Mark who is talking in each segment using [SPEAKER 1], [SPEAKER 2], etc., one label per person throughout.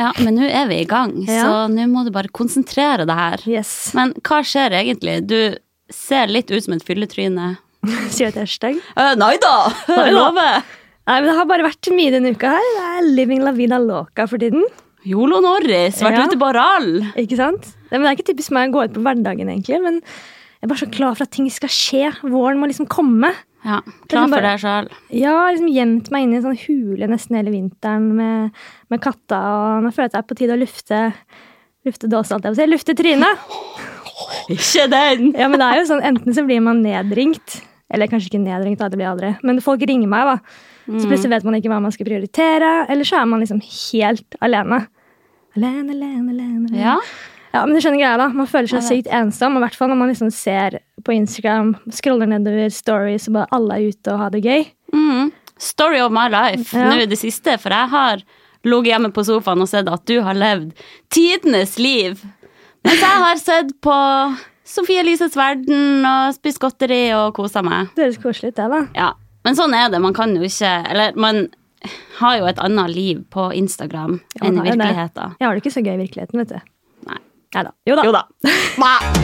[SPEAKER 1] Ja, men nå er vi i gang, så
[SPEAKER 2] Ja.
[SPEAKER 1] nå må du bare konsentrere deg her.
[SPEAKER 2] Yes.
[SPEAKER 1] Men hva skjer egentlig? Du ser litt ut som et fylletryne.
[SPEAKER 2] Sier jeg et hashtag?
[SPEAKER 1] Uh, nei da!
[SPEAKER 2] Nei
[SPEAKER 1] Jeg
[SPEAKER 2] da.
[SPEAKER 1] lover!
[SPEAKER 2] Nei, men det har bare vært mye denne uka her. Det er living la vida loca for tiden.
[SPEAKER 1] Jolo Norris, vært
[SPEAKER 2] Ja.
[SPEAKER 1] ute på rall.
[SPEAKER 2] Ikke sant? Nei, men det er ikke typisk meg å gå ut på hverdagen, egentlig. Men jeg er bare så klar for at ting skal skje. Våren må liksom komme.
[SPEAKER 1] Ja, klar
[SPEAKER 2] bare-
[SPEAKER 1] for deg sjøl.
[SPEAKER 2] Ja, jeg har liksom gjemt meg inn i en sånn hule nesten hele vinteren med, med katta, og nå føler jeg at det er på tide å lufte Lufte dåsa, alt jeg på å si. Lufte trynet!
[SPEAKER 1] Ikke den!
[SPEAKER 2] Ja, men det er jo sånn, enten så blir man nedringt, eller kanskje ikke nedringt, da, det blir jeg aldri, men folk ringer meg, da. Så plutselig vet man ikke hva man skal prioritere, eller så er man liksom helt alene. Alene, alene, alene. alene.
[SPEAKER 1] Ja,
[SPEAKER 2] Ja, men du skjønner greia da. Man føler seg
[SPEAKER 1] Jeg
[SPEAKER 2] sykt ensom. og I hvert fall når man liksom ser på Instagram, scroller nedover stories, og bare alle er ute og har det gøy.
[SPEAKER 1] Mm. Story of my life
[SPEAKER 2] Ja.
[SPEAKER 1] nå i det siste, for jeg har ligget hjemme på sofaen og sett at du har levd tidenes liv. Mens jeg har sett på Sofie Elises verden og spist godteri og kosa meg.
[SPEAKER 2] Det høres koselig ut, det, da.
[SPEAKER 1] Ja, men sånn er det. Man kan jo ikke Eller man har jo et annet liv på Instagram
[SPEAKER 2] Ja,
[SPEAKER 1] enn
[SPEAKER 2] man
[SPEAKER 1] i
[SPEAKER 2] har jo det.
[SPEAKER 1] virkeligheten.
[SPEAKER 2] Jeg har det ikke så gøy i virkeligheten, vet du.
[SPEAKER 1] Nei.
[SPEAKER 2] Neida. Jo da.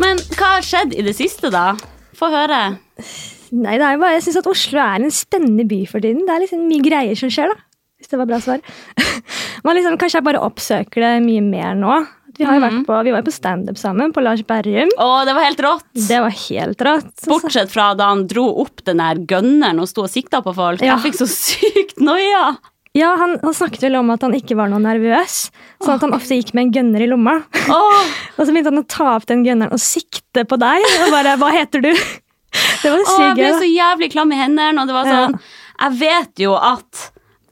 [SPEAKER 1] Men hva har skjedd i det siste, da? Få høre.
[SPEAKER 2] Nei, det er jo bare, jeg syns at Oslo er en spennende by for tiden. Det er liksom mye greier som skjer, da. Hvis det var bra svar. Man liksom, kanskje jeg bare oppsøker det mye mer nå. Vi, har jo
[SPEAKER 1] Mhm.
[SPEAKER 2] vært på, vi var jo på standup sammen på Lars Berrum.
[SPEAKER 1] Å, det var helt rått!
[SPEAKER 2] Det var helt rått. Så-
[SPEAKER 1] Bortsett fra da han dro opp den der gunneren og sto og sikta på folk.
[SPEAKER 2] Ja.
[SPEAKER 1] Jeg fikk så sykt noia!
[SPEAKER 2] Ja, han, han snakket vel om at han ikke var noe nervøs, sånn at han ofte gikk med en gønner i lomma.
[SPEAKER 1] Åh,
[SPEAKER 2] Og så begynte han å ta opp den gønneren og sikte på deg, og bare 'hva heter du?' Det
[SPEAKER 1] åh,
[SPEAKER 2] var
[SPEAKER 1] jeg
[SPEAKER 2] sykt
[SPEAKER 1] ble
[SPEAKER 2] gøy. da.
[SPEAKER 1] så jævlig klam i hendene, og det var
[SPEAKER 2] Ja.
[SPEAKER 1] sånn Jeg vet jo at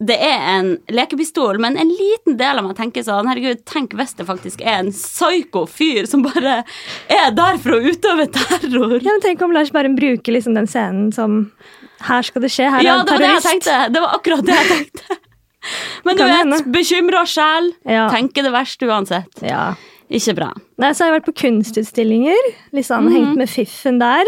[SPEAKER 1] det er en lekepistol, men en liten del av meg tenker sånn Herregud, tenk hvis det faktisk er en psyko fyr som bare er der for å utøve terror.
[SPEAKER 2] Ja, men tenk om Lars Berrum bruker liksom den scenen som 'her skal det skje', her
[SPEAKER 1] Ja,
[SPEAKER 2] er en
[SPEAKER 1] det var det jeg
[SPEAKER 2] terrorist.
[SPEAKER 1] tenkte. Det var akkurat det jeg tenkte. Men du
[SPEAKER 2] Kan
[SPEAKER 1] vet,
[SPEAKER 2] hende.
[SPEAKER 1] bekymra sjel.
[SPEAKER 2] Ja.
[SPEAKER 1] Tenker det verste uansett.
[SPEAKER 2] Ja.
[SPEAKER 1] Ikke bra.
[SPEAKER 2] Nei, så har jeg vært på kunstutstillinger, liksom
[SPEAKER 1] Mhm.
[SPEAKER 2] hengt med fiffen der.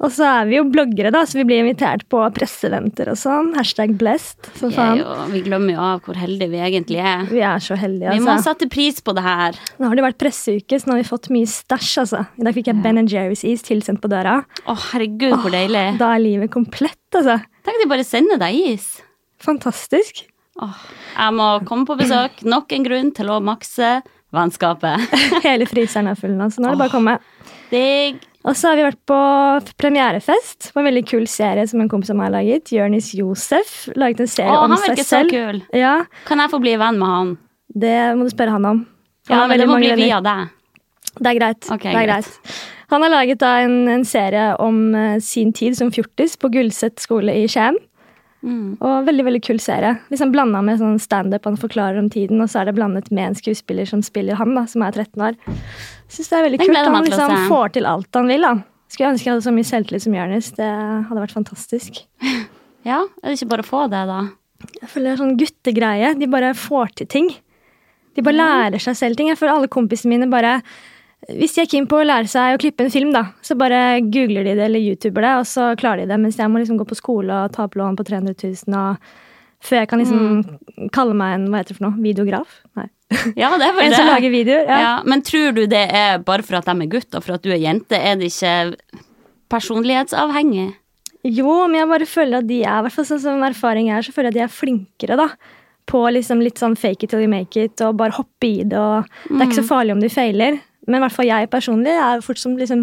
[SPEAKER 2] Og så er vi jo bloggere, da, så vi blir invitert på presseventer og sånn. Hashtag blessed, for
[SPEAKER 1] Vi, er
[SPEAKER 2] faen.
[SPEAKER 1] jo, vi glemmer jo av hvor heldige vi egentlig er.
[SPEAKER 2] Vi er så heldige, altså.
[SPEAKER 1] Vi må sette pris på det her.
[SPEAKER 2] Nå har det vært presseuke, så nå har vi fått mye stæsj. Altså. I dag fikk jeg Ben Jerry's is tilsendt på døra.
[SPEAKER 1] Å, herregud, hvor deilig.
[SPEAKER 2] Da er livet komplett, altså.
[SPEAKER 1] Tenk de bare sender deg is.
[SPEAKER 2] Fantastisk.
[SPEAKER 1] Åh, jeg må komme på besøk. Nok en grunn til å makse vennskapet.
[SPEAKER 2] Hele fryseren er full nå, så nå er det bare å komme.
[SPEAKER 1] Digg.
[SPEAKER 2] Og så har vi vært på f- premierefest på en veldig kul serie som en kompis av meg har laget. Jonis Josef laget en serie
[SPEAKER 1] Å,
[SPEAKER 2] om
[SPEAKER 1] han
[SPEAKER 2] seg
[SPEAKER 1] virker så
[SPEAKER 2] selv.
[SPEAKER 1] kul.
[SPEAKER 2] Ja,
[SPEAKER 1] Kan jeg få bli venn med han?
[SPEAKER 2] det må du spørre han om. Han
[SPEAKER 1] Ja,
[SPEAKER 2] har
[SPEAKER 1] men
[SPEAKER 2] veldig
[SPEAKER 1] det må
[SPEAKER 2] mange
[SPEAKER 1] bli
[SPEAKER 2] venner.
[SPEAKER 1] via deg.
[SPEAKER 2] Det er greit.
[SPEAKER 1] Ok,
[SPEAKER 2] det er
[SPEAKER 1] greit.
[SPEAKER 2] greit. Han har laget da en, en serie om eh, sin tid som fjortis på Gullset skole i Skien.
[SPEAKER 1] Mm.
[SPEAKER 2] Og veldig veldig kul serie. Liksom Blanda med sånn standup han forklarer om tiden, og så er det blandet med en skuespiller som spiller han, da, som er 13 år. Syns det er veldig
[SPEAKER 1] Den
[SPEAKER 2] kult.
[SPEAKER 1] gleder
[SPEAKER 2] at Han
[SPEAKER 1] meg til å
[SPEAKER 2] liksom
[SPEAKER 1] se.
[SPEAKER 2] får til alt han vil. da. Skulle ønske jeg hadde så mye selvtillit som Jonis. Det hadde vært fantastisk.
[SPEAKER 1] Ja, er det ikke bare å få det, da?
[SPEAKER 2] Jeg føler det er sånn guttegreie. De bare får til ting. De bare lærer seg selv ting. Jeg føler alle kompisene mine bare Hvis de er keen på å lære seg å klippe en film, da, så bare googler de det eller youtuber det, og så klarer de det. Mens jeg må liksom gå på skole og ta opp lån på 300 000 og før jeg kan liksom kalle meg en hva heter det for noe, videograf? Nei.
[SPEAKER 1] Mm. Ja, det er vel
[SPEAKER 2] En som
[SPEAKER 1] det.
[SPEAKER 2] lager videoer? Ja.
[SPEAKER 1] Ja, men tror du det er bare for at de er gutt, og for at du er jente? Er det ikke personlighetsavhengig?
[SPEAKER 2] Jo, men jeg bare føler at de er, i hvert fall sånn som erfaring er, så føler jeg at de er flinkere, da. På liksom litt sånn fake it till you make it, og bare hoppe i det, og det er ikke så farlig om de feiler. Men i hvert fall jeg personlig jeg er jo fort som liksom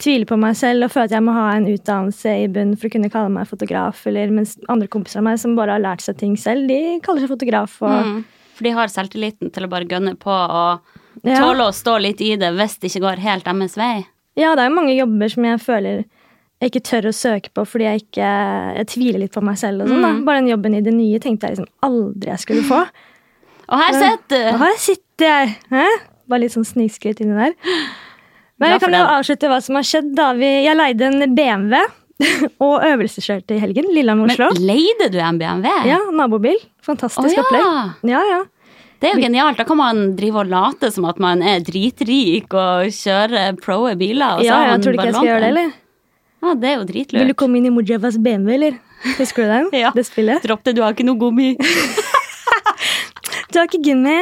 [SPEAKER 2] tviler på meg selv og føler at jeg må ha en utdannelse i bunnen for å kunne kalle meg fotograf, eller mens andre kompiser av meg som bare har lært seg ting selv, de kaller seg fotograf og
[SPEAKER 1] Mm. For de har selvtilliten til å bare gønne på og
[SPEAKER 2] Ja.
[SPEAKER 1] tåle å stå litt i det hvis det ikke går helt deres vei.
[SPEAKER 2] Ja, det er jo mange jobber som jeg føler jeg ikke tør å søke på fordi jeg ikke jeg tviler litt på meg selv og sånn. da. Bare den jobben i det nye tenkte jeg liksom aldri jeg skulle få.
[SPEAKER 1] Og her sitter
[SPEAKER 2] Og
[SPEAKER 1] du!
[SPEAKER 2] her sitter jeg. Hæ? Bare litt sånn snikskritt inni der. Men
[SPEAKER 1] Ja,
[SPEAKER 2] jeg
[SPEAKER 1] for
[SPEAKER 2] kan jo
[SPEAKER 1] det-
[SPEAKER 2] avslutte hva som har skjedd. da. Vi, jeg leide en BMW og øvelseskjørt i helgen. Lillehammer, Oslo.
[SPEAKER 1] Men leide du en BMW?
[SPEAKER 2] Ja, nabobil. Fantastisk
[SPEAKER 1] Å, ja.
[SPEAKER 2] opplegg. Ja, ja.
[SPEAKER 1] Det er jo genialt. Da kan man drive og late som at man er dritrik og kjører proe biler. Og så
[SPEAKER 2] Ja,
[SPEAKER 1] har
[SPEAKER 2] ja,
[SPEAKER 1] man
[SPEAKER 2] tror du ikke
[SPEAKER 1] bare
[SPEAKER 2] jeg skal
[SPEAKER 1] lånt
[SPEAKER 2] gjøre det,
[SPEAKER 1] den.
[SPEAKER 2] eller?
[SPEAKER 1] Ja, det er jo
[SPEAKER 2] Vil du
[SPEAKER 1] dritlurt.
[SPEAKER 2] komme inn i Mojavas BMW, eller? Husker du den?
[SPEAKER 1] Ja.
[SPEAKER 2] Det spillet?
[SPEAKER 1] Dropp det, du har ikke noe gummi.
[SPEAKER 2] Du har ikke gummi.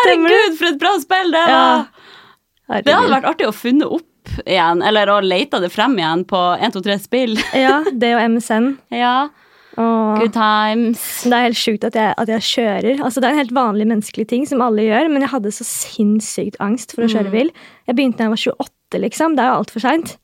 [SPEAKER 2] Stemmer det?
[SPEAKER 1] Herregud, for et bra spill det
[SPEAKER 2] Ja.
[SPEAKER 1] var! Det hadde
[SPEAKER 2] Herregud.
[SPEAKER 1] vært artig å funne opp igjen, eller å leite det frem igjen på 123 spill.
[SPEAKER 2] Ja, det og MSN.
[SPEAKER 1] ja,
[SPEAKER 2] Og
[SPEAKER 1] good times.
[SPEAKER 2] det er helt sjukt at jeg, at jeg kjører. Altså, det er en helt vanlig menneskelig ting som alle gjør, men jeg hadde så sinnssykt angst for å kjøre
[SPEAKER 1] Mm.
[SPEAKER 2] bil. Jeg begynte da jeg var 28, liksom. Det er jo altfor seint.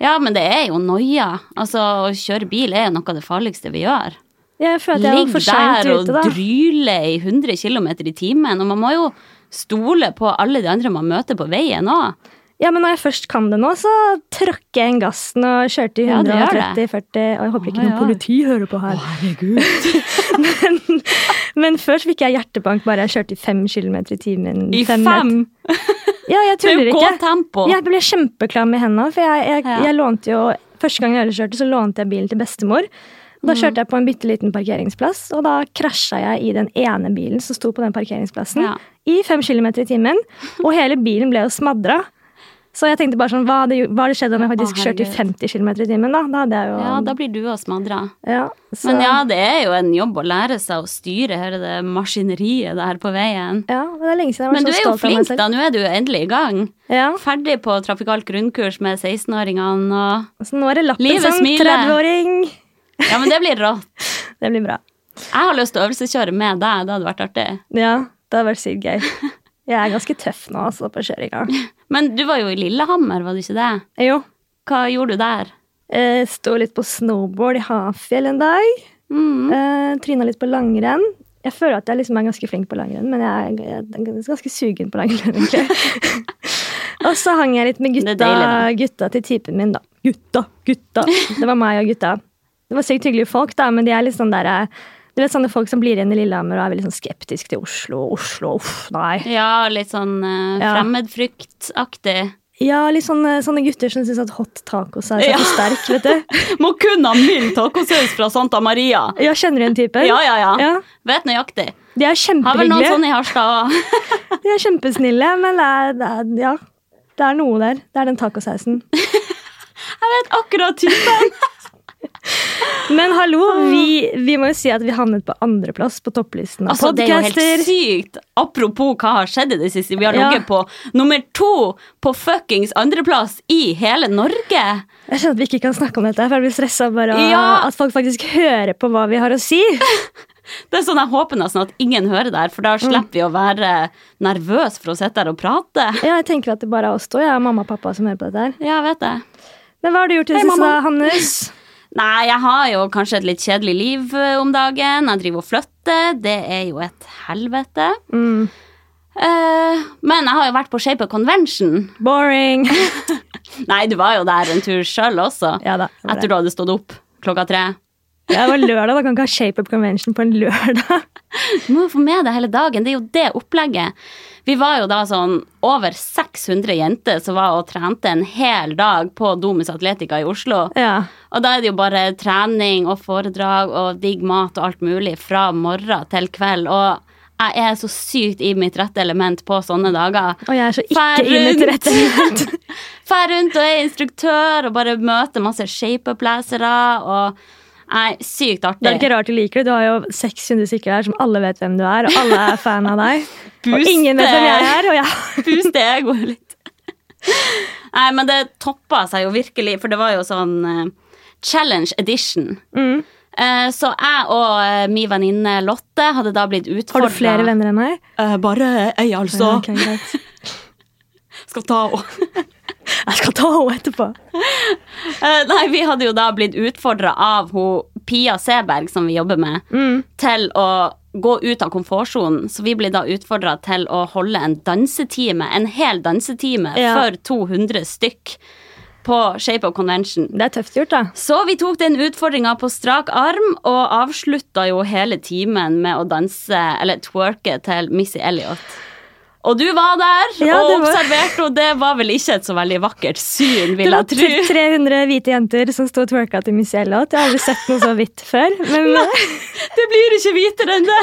[SPEAKER 1] Ja, men det er jo noia. Altså, å kjøre bil er jo noe av det farligste vi gjør.
[SPEAKER 2] Jeg føler at jeg var
[SPEAKER 1] Ligg
[SPEAKER 2] for seint
[SPEAKER 1] der og
[SPEAKER 2] ute, da.
[SPEAKER 1] dryle i 100 km i timen, og man må jo stole på alle de andre man møter på veien òg.
[SPEAKER 2] Ja, men når jeg først kan det nå, så tråkker jeg inn gassen og kjørte i
[SPEAKER 1] Ja, du gjør det.
[SPEAKER 2] 130-40. og jeg håper ikke
[SPEAKER 1] Å,
[SPEAKER 2] noen
[SPEAKER 1] ja.
[SPEAKER 2] politi hører på her.
[SPEAKER 1] Herregud.
[SPEAKER 2] men, men før så fikk jeg hjertebank bare jeg kjørte i fem kilometer i timen.
[SPEAKER 1] I
[SPEAKER 2] met-
[SPEAKER 1] fem!
[SPEAKER 2] Ja,
[SPEAKER 1] Det
[SPEAKER 2] jeg
[SPEAKER 1] er
[SPEAKER 2] tuller
[SPEAKER 1] jo
[SPEAKER 2] ikke.
[SPEAKER 1] gåtempo.
[SPEAKER 2] Jeg ble kjempeklam i hendene, for jeg, jeg,
[SPEAKER 1] Ja.
[SPEAKER 2] jeg lånte jo Første gang jeg ølkjørte, så lånte jeg bilen til bestemor. Og
[SPEAKER 1] Mm.
[SPEAKER 2] Da kjørte jeg på en bitte liten parkeringsplass, og da krasja jeg i den ene bilen som sto på den parkeringsplassen,
[SPEAKER 1] Ja.
[SPEAKER 2] i fem kilometer i timen. Og hele bilen ble jo smadra. Så jeg tenkte bare sånn, hva hadde, hva hadde skjedd om jeg faktisk
[SPEAKER 1] Å,
[SPEAKER 2] kjørte i 50 km i timen? Da Da hadde jeg jo
[SPEAKER 1] Ja, da blir du og smadra.
[SPEAKER 2] Ja, så,
[SPEAKER 1] Men ja, det er jo en jobb å lære seg å styre hele det maskineriet der på veien.
[SPEAKER 2] ja, men det er lenge siden jeg var
[SPEAKER 1] Men du
[SPEAKER 2] så
[SPEAKER 1] er jo
[SPEAKER 2] stolt av meg
[SPEAKER 1] flink,
[SPEAKER 2] selv.
[SPEAKER 1] da. Nå er du jo endelig i gang.
[SPEAKER 2] Ja,
[SPEAKER 1] Ferdig på trafikalt grunnkurs med 16-åringene og
[SPEAKER 2] så nå er det lappen
[SPEAKER 1] Livet
[SPEAKER 2] som
[SPEAKER 1] smiler.
[SPEAKER 2] 30-åring.
[SPEAKER 1] Ja, men det blir rått.
[SPEAKER 2] Det blir bra.
[SPEAKER 1] Jeg har lyst til å øvelseskjøre med deg. Det hadde vært artig.
[SPEAKER 2] Ja, det hadde vært sykt gøy. Jeg er ganske tøff nå, altså, på kjøringa.
[SPEAKER 1] Men du var jo i Lillehammer, var du ikke det?
[SPEAKER 2] Jo.
[SPEAKER 1] Hva gjorde du der?
[SPEAKER 2] Eh, Sto litt på snowboard i Hafjell en dag.
[SPEAKER 1] Mm.
[SPEAKER 2] Eh, Tryna litt på langrenn. Jeg føler at jeg liksom er ganske flink på langrenn, men jeg er- jeg er gans- ganske sugen på langrenn, egentlig. og så hang jeg litt med
[SPEAKER 1] Det er
[SPEAKER 2] gutta,
[SPEAKER 1] deilig,
[SPEAKER 2] gutta til typen min, da. Gutta, gutta. Det var meg og gutta. Det var sykt hyggelige folk, da, men de er litt sånn der eh, Du vet sånne folk som blir igjen i Lillehammer og er veldig sånn skeptisk til Oslo. Oslo, uff, nei.
[SPEAKER 1] Ja, litt sånn eh,
[SPEAKER 2] Ja.
[SPEAKER 1] fremmedfryktaktig.
[SPEAKER 2] Ja, litt sånne, sånne gutter som syns at hot tacos er så
[SPEAKER 1] Ja.
[SPEAKER 2] sterk, vet du.
[SPEAKER 1] Må kun ha mild tacosaus fra Santa Maria.
[SPEAKER 2] Ja, kjenner du den typen?
[SPEAKER 1] Ja, ja, ja.
[SPEAKER 2] Ja.
[SPEAKER 1] Vet nøyaktig.
[SPEAKER 2] De er
[SPEAKER 1] Har vel noen
[SPEAKER 2] kjempehyggelige.
[SPEAKER 1] sånne i Harstad òg.
[SPEAKER 2] De er kjempesnille, men det er, det er, ja, det er noe der. Det er den tacosausen.
[SPEAKER 1] Jeg vet akkurat typen.
[SPEAKER 2] Men hallo, vi, vi må jo si at vi havnet på andreplass på topplisten av
[SPEAKER 1] Altså, det er jo helt
[SPEAKER 2] podcaster.
[SPEAKER 1] sykt. Apropos hva har skjedd i det siste. Vi har
[SPEAKER 2] Ja.
[SPEAKER 1] ligget på nummer to på fuckings andreplass i hele Norge.
[SPEAKER 2] Jeg skjønner at vi ikke kan snakke om dette, for jeg blir stressa bare av
[SPEAKER 1] Ja.
[SPEAKER 2] at folk faktisk hører på hva vi har å si.
[SPEAKER 1] Det er sånn Jeg håper nesten at ingen hører der, for da slipper vi å være nervøs for å sitte her og prate.
[SPEAKER 2] Ja, jeg tenker at det bare er oss to. Jeg er mamma og pappa som hører på dette her.
[SPEAKER 1] Ja, jeg vet det.
[SPEAKER 2] Men hva har du gjort i det
[SPEAKER 1] Hei,
[SPEAKER 2] siste, da,
[SPEAKER 1] mamma.
[SPEAKER 2] Hannes?
[SPEAKER 1] Nei, jeg har jo kanskje et litt kjedelig liv eh, om dagen. Jeg driver og flytter. Det er jo et helvete.
[SPEAKER 2] Mm.
[SPEAKER 1] Eh, men jeg har jo vært på Shape of Convention.
[SPEAKER 2] Boring.
[SPEAKER 1] Nei, du var jo der en tur sjøl også.
[SPEAKER 2] Ja da. det var
[SPEAKER 1] etter
[SPEAKER 2] det.
[SPEAKER 1] du hadde stått opp klokka tre.
[SPEAKER 2] Ja, det var lørdag. Da kan ikke ha Shape Up Convention på en lørdag.
[SPEAKER 1] Du må jo få med deg hele dagen. Det er jo det opplegget. Vi var jo da sånn over 600 jenter som var og trente en hel dag på Domus Atletica i Oslo.
[SPEAKER 2] Ja.
[SPEAKER 1] Og da er det jo bare trening og foredrag og digg mat og alt mulig fra morgen til kveld. Og jeg er så sykt i mitt rette element på sånne dager.
[SPEAKER 2] Og jeg er så
[SPEAKER 1] Fær
[SPEAKER 2] ikke i mitt
[SPEAKER 1] rundt.
[SPEAKER 2] rette element.
[SPEAKER 1] Fær rundt og er instruktør og bare møter masse shape-up-lesere. Og nei, sykt artig.
[SPEAKER 2] Det er ikke rart du liker det. Du har jo 600 stykker der som alle vet hvem du er, og alle er fan av deg. Og
[SPEAKER 1] Puste.
[SPEAKER 2] ingen vet hvem jeg er, og jeg
[SPEAKER 1] Puste egoet litt. Nei, men det toppa seg jo virkelig, for det var jo sånn eh, challenge edition.
[SPEAKER 2] mm.
[SPEAKER 1] Eh, så jeg og eh, min venninne Lotte hadde da blitt
[SPEAKER 2] Har
[SPEAKER 1] utfordra
[SPEAKER 2] du flere Eh, venner enn meg?
[SPEAKER 1] bare ei, altså.
[SPEAKER 2] Ja, ok, greit.
[SPEAKER 1] Skal ta henne.
[SPEAKER 2] Jeg skal ta henne etterpå.
[SPEAKER 1] Eh, nei, vi hadde jo da blitt utfordra av ho, Pia Seberg, som vi jobber med,
[SPEAKER 2] Mm.
[SPEAKER 1] til å gå ut av komfortsonen. Så vi ble da utfordra til å holde en dansetime, en hel dansetime,
[SPEAKER 2] Ja.
[SPEAKER 1] for 200 stykk på Shape of Convention.
[SPEAKER 2] Det er tøft gjort, da.
[SPEAKER 1] Så vi tok den utfordringa på strak arm, og avslutta jo hele timen med å danse, eller twerke, til Missy Elliot. Og du var der
[SPEAKER 2] Ja,
[SPEAKER 1] og
[SPEAKER 2] det var-
[SPEAKER 1] observerte, og det var vel ikke et så veldig vakkert syn,
[SPEAKER 2] Det
[SPEAKER 1] vil
[SPEAKER 2] var
[SPEAKER 1] jeg tro.
[SPEAKER 2] 300 hvite jenter som sto og twerka til Missy Elliot. Jeg har aldri sett noe så hvitt før. Men
[SPEAKER 1] Det blir ikke hvitere enn det.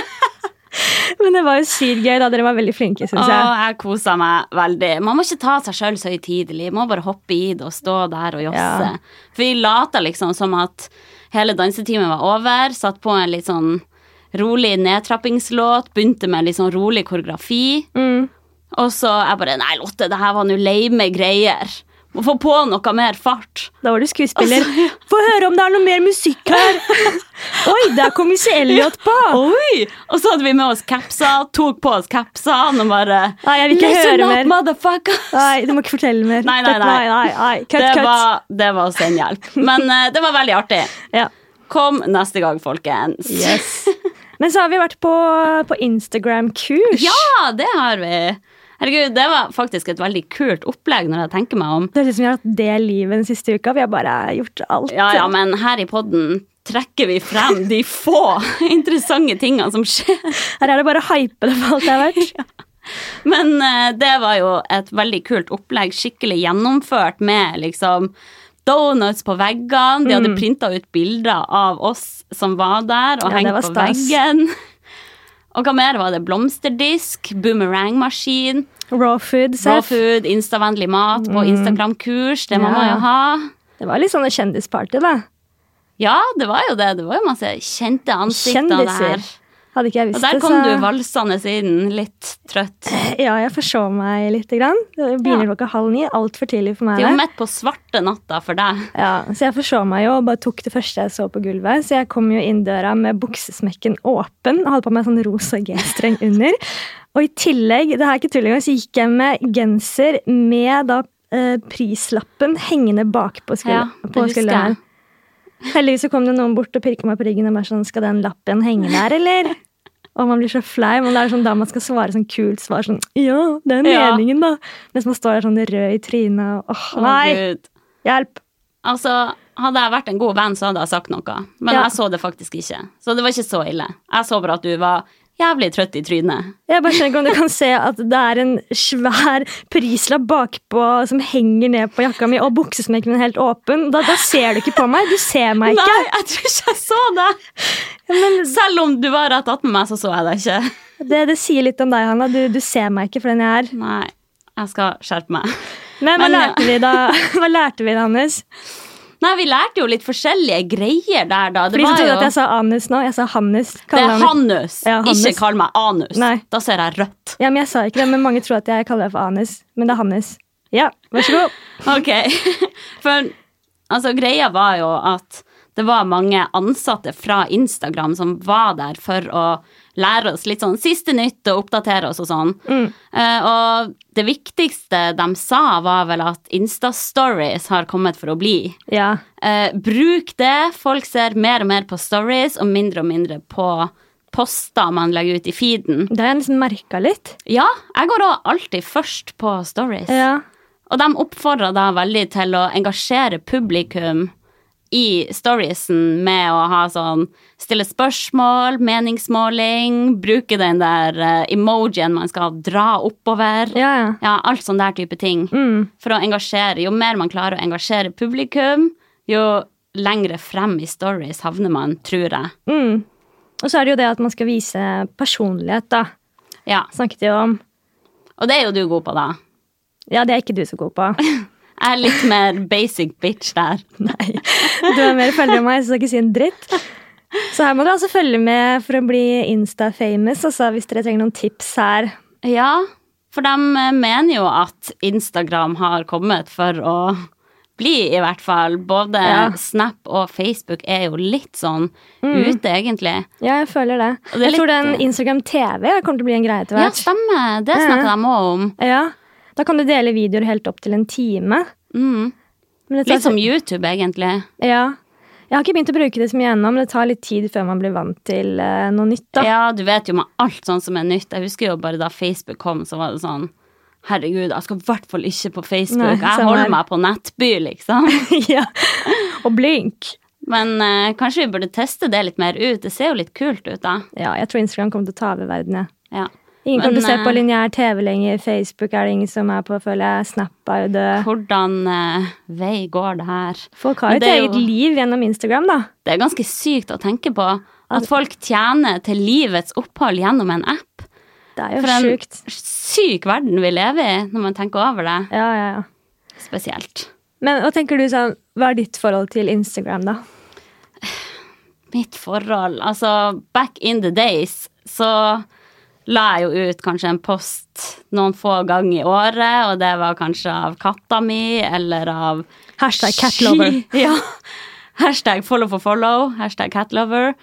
[SPEAKER 2] Men det var jo sykt gøy, da. Dere var veldig flinke, syns
[SPEAKER 1] Og
[SPEAKER 2] jeg.
[SPEAKER 1] jeg kosa meg veldig. Man må ikke ta seg sjøl så høytidelig. Må bare hoppe i det og stå der og josse.
[SPEAKER 2] Ja.
[SPEAKER 1] For vi lata liksom som at hele dansetimen var over. Satt på en litt sånn rolig nedtrappingslåt. Begynte med en litt sånn rolig koreografi.
[SPEAKER 2] Mm.
[SPEAKER 1] Og så jeg bare Nei, Lotte, det her var nå lame greier. Må få på noe mer fart.
[SPEAKER 2] Da var du skuespiller.
[SPEAKER 1] Altså,
[SPEAKER 2] Få høre om det er noe mer musikk her! Oi, der kom Missy Elliot på!
[SPEAKER 1] Oi! Og så hadde vi med oss capser, tok på oss capsene og bare
[SPEAKER 2] Nei, jeg vil ikke
[SPEAKER 1] Listen
[SPEAKER 2] høre
[SPEAKER 1] up,
[SPEAKER 2] mer.
[SPEAKER 1] motherfucker!
[SPEAKER 2] Nei, du må ikke fortelle mer.
[SPEAKER 1] Nei, nei,
[SPEAKER 2] Dette-
[SPEAKER 1] nei.
[SPEAKER 2] nei, nei. Cut,
[SPEAKER 1] det,
[SPEAKER 2] cut.
[SPEAKER 1] Var, det var også en hjelp. Men eh, det var veldig artig.
[SPEAKER 2] Ja.
[SPEAKER 1] Kom neste gang, folkens.
[SPEAKER 2] Men så har vi vært på, på Instagram-kurs.
[SPEAKER 1] Ja, det har vi. Herregud, det var faktisk et veldig kult opplegg når jeg tenker meg om.
[SPEAKER 2] Det høres ut som vi har hatt det livet den siste uka. Vi har bare gjort alt.
[SPEAKER 1] Ja, ja, men her i podden trekker vi frem de få interessante tingene som skjer.
[SPEAKER 2] Her er det bare å hype det for alt det har vært.
[SPEAKER 1] Men eh, det var jo et veldig kult opplegg, skikkelig gjennomført med liksom donuts på veggene. De hadde printa ut bilder av oss som var der, og
[SPEAKER 2] Mm. Ja, det
[SPEAKER 1] hengt
[SPEAKER 2] var
[SPEAKER 1] på
[SPEAKER 2] stas.
[SPEAKER 1] veggen. Og hva mer var det? Blomsterdisk, boomerangmaskin,
[SPEAKER 2] Raw food,
[SPEAKER 1] raw
[SPEAKER 2] Seth.
[SPEAKER 1] food, instavennlig mat på Instagram-kurs. Det må
[SPEAKER 2] Mm. Ja.
[SPEAKER 1] man jo ha.
[SPEAKER 2] Det var litt sånn kjendisparty, da.
[SPEAKER 1] Ja, det var jo det. Det var jo masse kjente ansikter
[SPEAKER 2] Kjendiser.
[SPEAKER 1] der.
[SPEAKER 2] Hadde ikke jeg
[SPEAKER 1] Og der
[SPEAKER 2] visst det,
[SPEAKER 1] kom du valsende inn, litt trøtt.
[SPEAKER 2] Ja, jeg forsov meg litt. Grann. Det Begynner klokka halv ni. Altfor tidlig for
[SPEAKER 1] Det
[SPEAKER 2] meg.
[SPEAKER 1] er jo
[SPEAKER 2] det.
[SPEAKER 1] midt på svarte natta for deg.
[SPEAKER 2] Ja, så jeg forså meg jo og bare tok det første jeg så på gulvet. Så jeg kom jo inn døra med buksesmekken åpen og hadde på meg sånn rosa G-streng under. Og i tillegg, det her er ikke tull engang, så gikk jeg med genser med da eh, prislappen hengende bak på, skul
[SPEAKER 1] Ja, det
[SPEAKER 2] på
[SPEAKER 1] husker
[SPEAKER 2] skulderen. Heldigvis så kom det noen bort og pirka meg på ryggen og bare sånn Skal den lappen henge der, eller? Og man blir så flau. Men det er sånn da man skal svare sånn kult svar sånn Ja, det er
[SPEAKER 1] Ja.
[SPEAKER 2] meningen, da. Mens man står der sånn rød i trynet og
[SPEAKER 1] Å,
[SPEAKER 2] åh, nei,
[SPEAKER 1] Gud.
[SPEAKER 2] hjelp.
[SPEAKER 1] Altså, hadde jeg vært en god venn, så hadde jeg sagt noe. Men
[SPEAKER 2] Ja.
[SPEAKER 1] jeg så det faktisk ikke. Så det var ikke så ille. Jeg så bare at du var jævlig trøtt i trynet.
[SPEAKER 2] Jeg bare skjønner ikke om du kan se at det er en svær prislapp bakpå som henger ned på jakka mi, og buksesmekken min er helt åpen. Da, da ser du ikke på meg. Du ser meg ikke.
[SPEAKER 1] Nei, jeg tror ikke jeg så det! Selv om du var rett attmed meg, så så jeg deg ikke.
[SPEAKER 2] Det, det sier litt om deg, Hanna. Du, du ser meg ikke for den jeg er.
[SPEAKER 1] Nei, jeg skal skjerpe meg.
[SPEAKER 2] Men hva
[SPEAKER 1] Men-
[SPEAKER 2] lærte vi da, Hva lærte vi da, Hannes?
[SPEAKER 1] Nei, vi lærte jo litt forskjellige greier der, da.
[SPEAKER 2] For
[SPEAKER 1] Det
[SPEAKER 2] de som
[SPEAKER 1] var
[SPEAKER 2] trodde
[SPEAKER 1] jo
[SPEAKER 2] at jeg sa Anus nå. Jeg sa Hannes.
[SPEAKER 1] Det
[SPEAKER 2] Kaller
[SPEAKER 1] er
[SPEAKER 2] han-
[SPEAKER 1] Hannus.
[SPEAKER 2] Ja, Hannus.
[SPEAKER 1] Ikke kall meg Anus.
[SPEAKER 2] Nei.
[SPEAKER 1] Da ser jeg rødt.
[SPEAKER 2] Ja, men Jeg sa ikke det, men mange tror at jeg kaller det for Anus. Men det er Hannes. Ja, vær så god.
[SPEAKER 1] Ok. For altså, greia var jo at det var mange ansatte fra Instagram som var der for å lære oss litt sånn siste nytt og oppdatere oss og sånn.
[SPEAKER 2] Mm.
[SPEAKER 1] Eh, og det viktigste de sa, var vel at Insta-stories har kommet for å bli.
[SPEAKER 2] Ja.
[SPEAKER 1] Eh, bruk det. Folk ser mer og mer på stories og mindre og mindre på poster man legger ut i feeden.
[SPEAKER 2] Det har jeg nesten merka litt.
[SPEAKER 1] Ja, jeg går òg alltid først på stories.
[SPEAKER 2] Ja.
[SPEAKER 1] Og de oppfordra da veldig til å engasjere publikum i storiesen med å ha sånn stille spørsmål, meningsmåling, bruke den der eh, emojien man skal dra oppover.
[SPEAKER 2] Ja, ja.
[SPEAKER 1] Ja, alt sånn der type ting. For å engasjere. Jo mer man klarer å engasjere publikum, jo lengre frem i stories havner man, tror jeg.
[SPEAKER 2] Mm. Og så er det jo det at man skal vise personlighet, da.
[SPEAKER 1] Ja,
[SPEAKER 2] Snakket jo om.
[SPEAKER 1] Og det er jo du god på, da.
[SPEAKER 2] Ja, det er ikke du så god på.
[SPEAKER 1] Jeg er litt mer basic bitch der.
[SPEAKER 2] Nei. Du er mer følger meg, så skal jeg ikke si en dritt. Så her må du altså følge med for å bli Insta-famous, altså hvis dere trenger noen tips her.
[SPEAKER 1] Ja, for de eh, mener jo at Instagram har kommet for å bli, i hvert fall. Både
[SPEAKER 2] Ja. Mm.
[SPEAKER 1] Snap og Facebook er jo litt sånn ute, egentlig.
[SPEAKER 2] Ja, jeg føler det.
[SPEAKER 1] Og det er
[SPEAKER 2] jeg tror
[SPEAKER 1] litt-
[SPEAKER 2] den Instagram TV kommer til å bli en greie etter
[SPEAKER 1] Ja,
[SPEAKER 2] hvert.
[SPEAKER 1] stemmer. Det snakker de òg om.
[SPEAKER 2] Ja. Da kan du dele videoer helt opp til en time.
[SPEAKER 1] Mm.
[SPEAKER 2] Men det sånn- tar-
[SPEAKER 1] Litt som YouTube, egentlig.
[SPEAKER 2] Ja. Jeg har ikke begynt å bruke det så mye ennå, men det tar litt tid før man blir vant til eh, noe nytt. da.
[SPEAKER 1] Ja, du vet jo med alt sånn som er nytt. Jeg husker jo bare da Facebook kom, så var det sånn Herregud, jeg skal i hvert fall ikke på
[SPEAKER 2] Nei,
[SPEAKER 1] Facebook.
[SPEAKER 2] samme
[SPEAKER 1] jeg
[SPEAKER 2] her.
[SPEAKER 1] holder meg på nettby, liksom.
[SPEAKER 2] ja. Og blink.
[SPEAKER 1] Men eh, kanskje vi burde teste det litt mer ut. Det ser jo litt kult ut, da.
[SPEAKER 2] Ja, jeg tror Instagram kommer til å ta over verden, jeg.
[SPEAKER 1] Ja.
[SPEAKER 2] Ingen kommer
[SPEAKER 1] Men,
[SPEAKER 2] til å se på
[SPEAKER 1] eh,
[SPEAKER 2] lineær TV lenger. Facebook er det ingen som er på, føler jeg. Snap er jo død.
[SPEAKER 1] Hvordan eh, vei går det her?
[SPEAKER 2] Folk har
[SPEAKER 1] Men
[SPEAKER 2] jo
[SPEAKER 1] det
[SPEAKER 2] et
[SPEAKER 1] er jo-
[SPEAKER 2] eget liv gjennom Instagram, da.
[SPEAKER 1] Det er ganske sykt å tenke på At folk tjener til livets opphold gjennom en app.
[SPEAKER 2] Det er jo
[SPEAKER 1] For en
[SPEAKER 2] sjukt.
[SPEAKER 1] syk verden vi lever i, når man tenker over det.
[SPEAKER 2] Ja, ja, ja.
[SPEAKER 1] Spesielt.
[SPEAKER 2] Men hva tenker du sånn, hva er ditt forhold til Instagram, da?
[SPEAKER 1] Mitt forhold Altså, back in the days så la jeg jo ut kanskje en post noen få ganger i året, og det var kanskje av katta mi eller av
[SPEAKER 2] Hashtag catlover.
[SPEAKER 1] Sky- Ja. Hashtag follow for follow, hashtag catlover.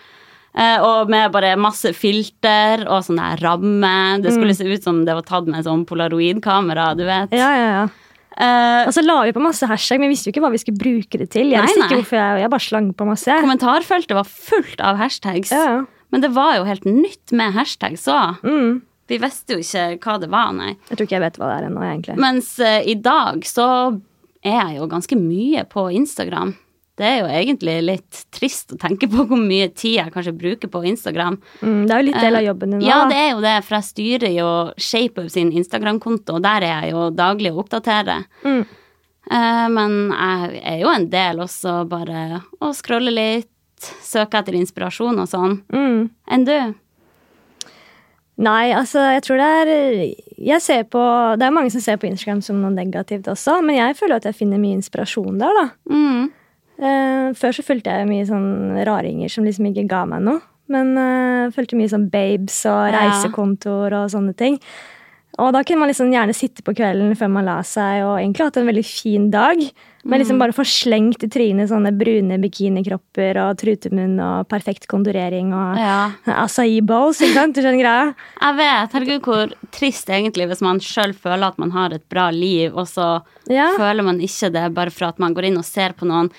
[SPEAKER 1] Eh, og med bare masse filter og sånn her ramme. Det skulle se ut som det var tatt med sånn polaroidkamera, du vet.
[SPEAKER 2] Mm. Ja, ja, ja.
[SPEAKER 1] Eh,
[SPEAKER 2] Og så la vi på masse hashtag, men vi visste jo ikke hva vi skulle bruke det til. Jeg
[SPEAKER 1] Nei,
[SPEAKER 2] visste ikke
[SPEAKER 1] nei.
[SPEAKER 2] hvorfor jeg, jeg bare slang på masse. jeg.
[SPEAKER 1] kommentarfeltet var fullt av hashtags.
[SPEAKER 2] Ja, ja.
[SPEAKER 1] Men det var jo helt nytt med hashtags òg.
[SPEAKER 2] Mm.
[SPEAKER 1] Vi visste jo ikke hva det var, nei.
[SPEAKER 2] Jeg tror ikke jeg vet hva det er ennå, egentlig.
[SPEAKER 1] Mens eh, i dag så er jeg jo ganske mye på Instagram. Det er jo egentlig litt trist å tenke på hvor mye tid jeg kanskje bruker på Instagram.
[SPEAKER 2] Mm, det er jo litt del av jobben din nå.
[SPEAKER 1] Eh, Ja,
[SPEAKER 2] da.
[SPEAKER 1] det er jo det, for jeg styrer jo ShapeUp sin Instagram-konto, og der er jeg jo daglig og oppdaterer.
[SPEAKER 2] Mm.
[SPEAKER 1] Eh, Men jeg er jo en del også bare å scrolle litt, søke etter inspirasjon og sånn.
[SPEAKER 2] Mm.
[SPEAKER 1] Enn du?
[SPEAKER 2] Nei, altså, jeg tror det er Jeg ser på Det er mange som ser på Instagram som noe negativt også, men jeg føler at jeg finner mye inspirasjon der, da.
[SPEAKER 1] Mm.
[SPEAKER 2] Eh, før så fulgte jeg mye sånn raringer som liksom ikke ga meg noe. Men eh, fulgte mye sånn babes og
[SPEAKER 1] Ja.
[SPEAKER 2] reisekontor og sånne ting. Og da kunne man liksom gjerne sitte på kvelden før man la seg og egentlig hatt en veldig fin dag. Men
[SPEAKER 1] Mm.
[SPEAKER 2] liksom bare få slengt i trynet sånne brune bikinikropper og trutemunn og perfekt kondorering og
[SPEAKER 1] Ja.
[SPEAKER 2] acai bowls, ikke sant? Du skjønner greia?
[SPEAKER 1] Jeg vet, herregud hvor trist egentlig hvis man sjøl føler at man har et bra liv, og så
[SPEAKER 2] Ja.
[SPEAKER 1] føler man ikke det bare for at man går inn og ser på noen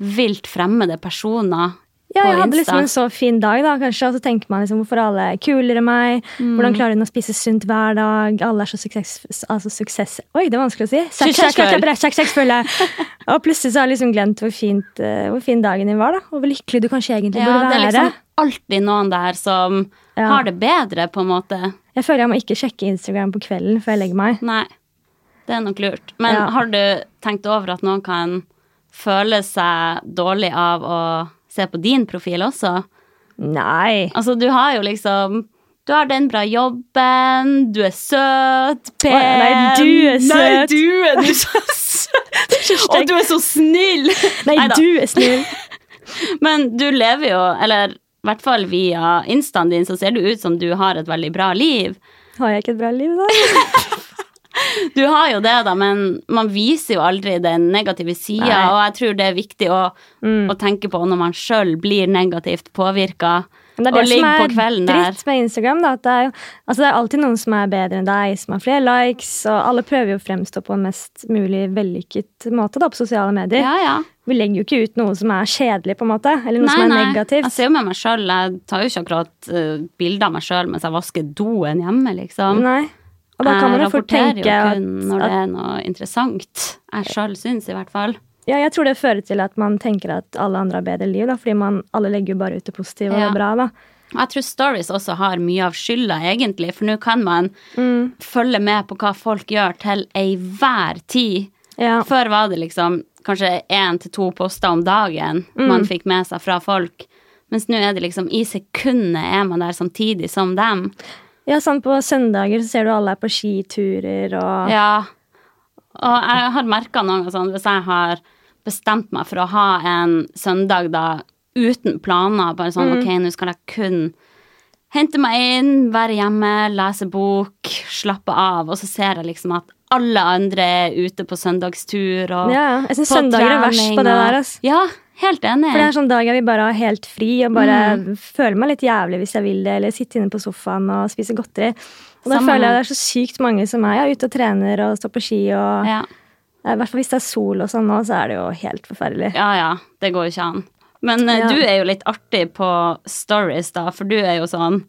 [SPEAKER 1] vilt fremmede personer
[SPEAKER 2] Ja,
[SPEAKER 1] på
[SPEAKER 2] jeg hadde
[SPEAKER 1] Insta.
[SPEAKER 2] liksom en så fin dag, da, kanskje, og så tenker man liksom hvorfor er alle kulere enn meg?
[SPEAKER 1] Mm.
[SPEAKER 2] Hvordan klarer hun å spise sunt hver dag? Alle er så suksess... Altså suksess... Oi, det er vanskelig å si. Suksess-
[SPEAKER 1] Suksessfull.
[SPEAKER 2] suksess- suksessfulle. og plutselig så har jeg liksom glemt hvor, fint, eh, hvor fin dagen din var, da. Og hvor lykkelig du kanskje
[SPEAKER 1] ja,
[SPEAKER 2] egentlig burde
[SPEAKER 1] det er
[SPEAKER 2] være.
[SPEAKER 1] liksom alltid noen der som
[SPEAKER 2] Ja.
[SPEAKER 1] har det bedre, på en måte.
[SPEAKER 2] Jeg føler jeg må ikke sjekke Instagram på kvelden før jeg legger meg.
[SPEAKER 1] Nei, det er nok lurt. Men
[SPEAKER 2] Ja.
[SPEAKER 1] har du tenkt over at noen kan føle seg dårlig av å se på din profil også?
[SPEAKER 2] Nei.
[SPEAKER 1] Altså, du har jo liksom Du har den bra jobben, du er søt, pen
[SPEAKER 2] Å, nei, du er søt.
[SPEAKER 1] du er, du er så søt! Og du er så snill!
[SPEAKER 2] Nei,
[SPEAKER 1] Neida.
[SPEAKER 2] du er snill.
[SPEAKER 1] Men du lever jo, eller i hvert fall via instaen din, så ser du ut som du har et veldig bra liv.
[SPEAKER 2] Har jeg ikke et bra liv, da?
[SPEAKER 1] Du har jo det, da, men man viser jo aldri den negative sida,
[SPEAKER 2] Nei. Mm.
[SPEAKER 1] og jeg tror det er viktig å, å tenke på når man sjøl blir negativt påvirka.
[SPEAKER 2] Men det er
[SPEAKER 1] og
[SPEAKER 2] det som
[SPEAKER 1] ligger på
[SPEAKER 2] er
[SPEAKER 1] kvelden der.
[SPEAKER 2] dritt med Instagram. Da, at det, er jo, altså det er alltid noen som er bedre enn deg, som har flere likes. Og alle prøver jo å fremstå på en mest mulig vellykket måte da, på sosiale medier.
[SPEAKER 1] Ja, ja.
[SPEAKER 2] Vi legger jo ikke ut noe som er kjedelig, på en måte, eller noe som er
[SPEAKER 1] Jeg
[SPEAKER 2] negativt.
[SPEAKER 1] ser jo med meg sjøl. Jeg tar jo ikke akkurat eh, bilder av meg sjøl mens jeg vasker doen hjemme, liksom.
[SPEAKER 2] Nei. Og da kan man jo
[SPEAKER 1] jeg
[SPEAKER 2] fort
[SPEAKER 1] Eh, rapporterer
[SPEAKER 2] tenke
[SPEAKER 1] jo
[SPEAKER 2] at,
[SPEAKER 1] kun når
[SPEAKER 2] at
[SPEAKER 1] det er noe interessant. Jeg sjøl syns, i hvert fall.
[SPEAKER 2] ja, Jeg tror det fører til at man tenker at alle andre har bedre liv, da, fordi man, alle legger jo bare ut det positive og
[SPEAKER 1] Ja.
[SPEAKER 2] det bra. da.
[SPEAKER 1] Og jeg tror stories også har mye av skylda, egentlig, for nå kan man
[SPEAKER 2] Mm.
[SPEAKER 1] følge med på hva folk gjør, til ei hver tid.
[SPEAKER 2] Ja.
[SPEAKER 1] Før var det liksom kanskje én til to poster om dagen
[SPEAKER 2] Mm.
[SPEAKER 1] man fikk med seg fra folk. Mens nå er det liksom i sekundet er man der samtidig som dem.
[SPEAKER 2] ja, sånn På søndager så ser du alle er på skiturer og
[SPEAKER 1] Ja. Og jeg har merka noen ganger sånn hvis jeg har bestemt meg for å ha en søndag da uten planer, bare sånn
[SPEAKER 2] Mm.
[SPEAKER 1] ok, nå skal jeg kun hente meg inn, være hjemme, lese bok, slappe av, og så ser jeg liksom at alle andre er ute på søndagstur og
[SPEAKER 2] Ja, jeg synes
[SPEAKER 1] på
[SPEAKER 2] søndager er verst
[SPEAKER 1] trening
[SPEAKER 2] på det
[SPEAKER 1] og-
[SPEAKER 2] der, ass.
[SPEAKER 1] Ja, helt enig.
[SPEAKER 2] For det er sånn dag jeg vil bare ha helt fri og bare
[SPEAKER 1] Mm.
[SPEAKER 2] føle meg litt jævlig hvis jeg vil det, eller sitte inne på sofaen og spise godteri. Og da
[SPEAKER 1] Samme
[SPEAKER 2] føler jeg
[SPEAKER 1] her.
[SPEAKER 2] det er så sykt mange som er ja, ute og trener og står på ski og eh,
[SPEAKER 1] ja.
[SPEAKER 2] I hvert fall hvis det er sol og sånn nå, så er det jo helt forferdelig.
[SPEAKER 1] Ja, ja, det går jo ikke an. Men eh,
[SPEAKER 2] Ja.
[SPEAKER 1] du er jo litt artig på stories, da, for du er jo sånn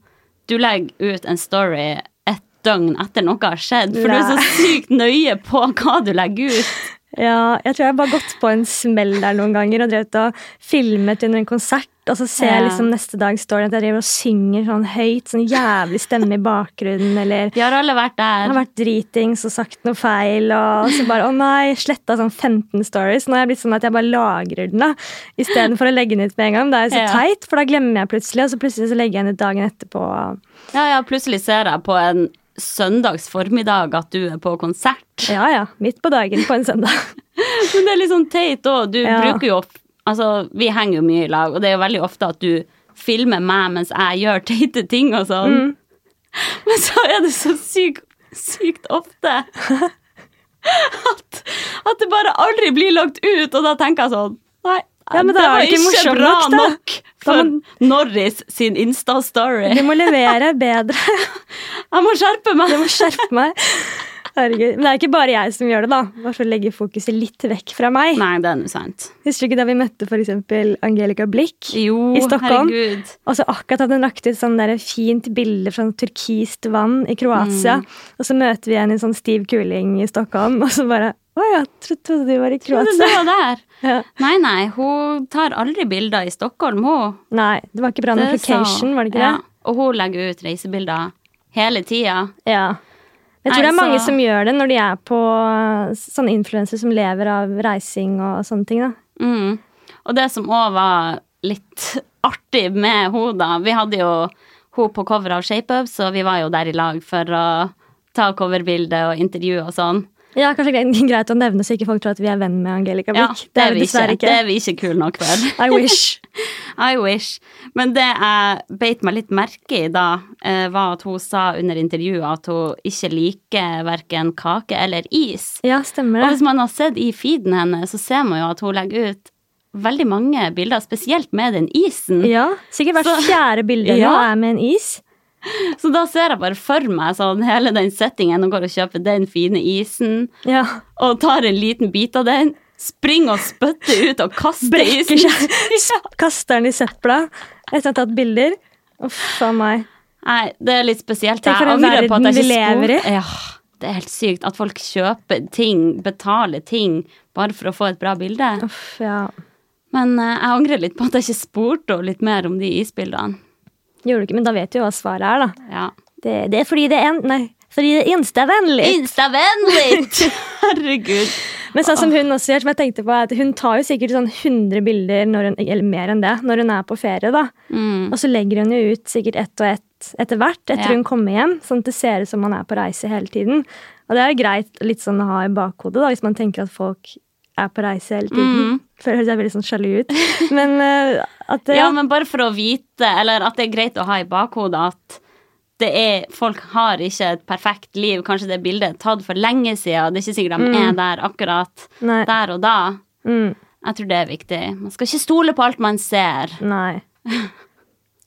[SPEAKER 1] Du legger ut en story et døgn etter noe har skjedd, for du er
[SPEAKER 2] Nei.
[SPEAKER 1] så sykt nøye på hva du legger ut.
[SPEAKER 2] Ja, jeg tror jeg har bare gått på en smell der noen ganger og drevet og filmet under en konsert og så ser
[SPEAKER 1] Ja.
[SPEAKER 2] jeg liksom neste dag står det at jeg driver og synger sånn høyt, sånn jævlig stemme i bakgrunnen, eller
[SPEAKER 1] Vi har alle vært
[SPEAKER 2] jeg
[SPEAKER 1] der.
[SPEAKER 2] har vært dritings og sagt noe feil, og så bare å nei, sletta sånn 15 stories. Nå har jeg blitt sånn at jeg bare lagrer den, da, istedenfor å legge den ut med en gang. Det er jo så
[SPEAKER 1] Ja.
[SPEAKER 2] teit, for da glemmer jeg plutselig, og så plutselig så legger jeg den ut dagen etterpå.
[SPEAKER 1] Ja, ja, plutselig ser jeg på en søndags formiddag at du er på konsert.
[SPEAKER 2] Ja ja, midt på dagen på en søndag.
[SPEAKER 1] Men det er litt sånn teit òg. Du
[SPEAKER 2] Ja.
[SPEAKER 1] bruker jo Altså, vi henger jo mye i lag, og det er jo veldig ofte at du filmer meg mens jeg gjør teite ting og sånn.
[SPEAKER 2] Mm.
[SPEAKER 1] Men så er det så sykt, sykt ofte at, at det bare aldri blir lagt ut, og da tenker jeg sånn Nei,
[SPEAKER 2] Ja, men da
[SPEAKER 1] det
[SPEAKER 2] er
[SPEAKER 1] var
[SPEAKER 2] det ikke morsomt
[SPEAKER 1] bra
[SPEAKER 2] nok, da.
[SPEAKER 1] nok
[SPEAKER 2] Da
[SPEAKER 1] for
[SPEAKER 2] må-
[SPEAKER 1] Norris sin Insta-story.
[SPEAKER 2] Du må levere bedre.
[SPEAKER 1] Jeg må skjerpe meg.
[SPEAKER 2] Jeg må skjerpe meg. Herregud. Men det er ikke bare jeg som gjør det, da. Bare for å legge fokuset litt vekk fra meg.
[SPEAKER 1] Nei, det er nå sant.
[SPEAKER 2] Husker du ikke da vi møtte for eksempel Angelica Blikk
[SPEAKER 1] Jo,
[SPEAKER 2] i Stockholm?
[SPEAKER 1] herregud.
[SPEAKER 2] Og så Altså, akkurat hadde hun lagt ut sånn der fint bilde fra sånn turkist vann i Kroatia.
[SPEAKER 1] Mm.
[SPEAKER 2] Og så møter vi henne i sånn stiv kuling i Stockholm, og så bare Å ja, tro- trodde du var i
[SPEAKER 1] Trodde du
[SPEAKER 2] Kroatia.
[SPEAKER 1] var der.
[SPEAKER 2] Ja.
[SPEAKER 1] Nei, nei, hun tar aldri bilder i Stockholm, hun.
[SPEAKER 2] Nei, det var ikke bra med
[SPEAKER 1] Det sa hun.
[SPEAKER 2] application, var det ikke
[SPEAKER 1] Ja, Og hun legger ut reisebilder hele tida.
[SPEAKER 2] det? Ja. Jeg
[SPEAKER 1] Nei,
[SPEAKER 2] tror det er mange
[SPEAKER 1] så-
[SPEAKER 2] som gjør det når de er på eh, sånne influensere som lever av reising og sånne ting. da.
[SPEAKER 1] Mm. Og det som òg var litt artig med henne, da Vi hadde jo hun på cover av ShapeUp, så vi var jo der i lag for å ta coverbilde og intervjue og sånn.
[SPEAKER 2] Ja, Kanskje gre- greit å nevne så ikke folk tror at vi er venn med Angelica
[SPEAKER 1] Ja,
[SPEAKER 2] Blikk. det er vi dessverre
[SPEAKER 1] Det
[SPEAKER 2] ikke.
[SPEAKER 1] er vi ikke kule nok for.
[SPEAKER 2] I wish.
[SPEAKER 1] I wish. Men det jeg beit meg litt merke i da, eh, var at hun sa under intervjuet at hun ikke liker verken kake eller is.
[SPEAKER 2] Ja, stemmer
[SPEAKER 1] Og
[SPEAKER 2] det.
[SPEAKER 1] hvis man har sett i feeden hennes, så ser man jo at hun legger ut veldig mange bilder, spesielt med den isen.
[SPEAKER 2] Ja, Sikkert hvert
[SPEAKER 1] Så-
[SPEAKER 2] fjerde bilde nå
[SPEAKER 1] Ja.
[SPEAKER 2] er med en is.
[SPEAKER 1] Så da ser jeg bare for meg sånn hele den settingen, og går og kjøper den fine isen,
[SPEAKER 2] Ja.
[SPEAKER 1] og tar en liten bit av den, springer og spytter ut og kaster
[SPEAKER 2] Brekker
[SPEAKER 1] isen.
[SPEAKER 2] seg. Kaster den i søpla etter å ha tatt bilder. Uff a meg.
[SPEAKER 1] Nei, det er litt spesielt.
[SPEAKER 2] Tenk for
[SPEAKER 1] Jeg
[SPEAKER 2] en
[SPEAKER 1] angrer på at jeg
[SPEAKER 2] verden vi
[SPEAKER 1] ikke spor-
[SPEAKER 2] lever i.
[SPEAKER 1] Ja, det er helt sykt at folk kjøper ting, betaler ting, bare for å få et bra bilde.
[SPEAKER 2] Uff, ja.
[SPEAKER 1] Men eh, jeg angrer litt på at jeg ikke spurte henne litt mer om de isbildene.
[SPEAKER 2] Gjorde du ikke, men da vet du jo hva svaret er, da.
[SPEAKER 1] Ja.
[SPEAKER 2] Det, det er fordi det er en... Nei. Fordi det er instavennlig.
[SPEAKER 1] Instavennlig! Herregud.
[SPEAKER 2] Men sånn som hun også gjør, som jeg tenkte på, er at hun tar jo sikkert sånn 100 bilder, når hun, eller mer enn det, når hun er på ferie, da.
[SPEAKER 1] Mm.
[SPEAKER 2] Og så legger hun jo ut sikkert ett og ett etter hvert, etter
[SPEAKER 1] Ja.
[SPEAKER 2] hun kommer hjem. Sånn at det ser ut som man er på reise hele tiden. Og det er jo greit litt sånn å ha i bakhodet, da, hvis man tenker at folk er på reise hele tiden.
[SPEAKER 1] Mm.
[SPEAKER 2] Før høres jeg veldig sånn sjalu ut. Men eh, at det,
[SPEAKER 1] Ja, men bare for å vite, eller at det er greit å ha i bakhodet at det er, folk har ikke et perfekt liv. Kanskje det bildet er tatt for lenge siden, det er ikke sikkert
[SPEAKER 2] Mm.
[SPEAKER 1] de er der akkurat
[SPEAKER 2] Nei.
[SPEAKER 1] der og da.
[SPEAKER 2] Mm,
[SPEAKER 1] Jeg tror det er viktig. Man skal ikke stole på alt man ser.
[SPEAKER 2] nei.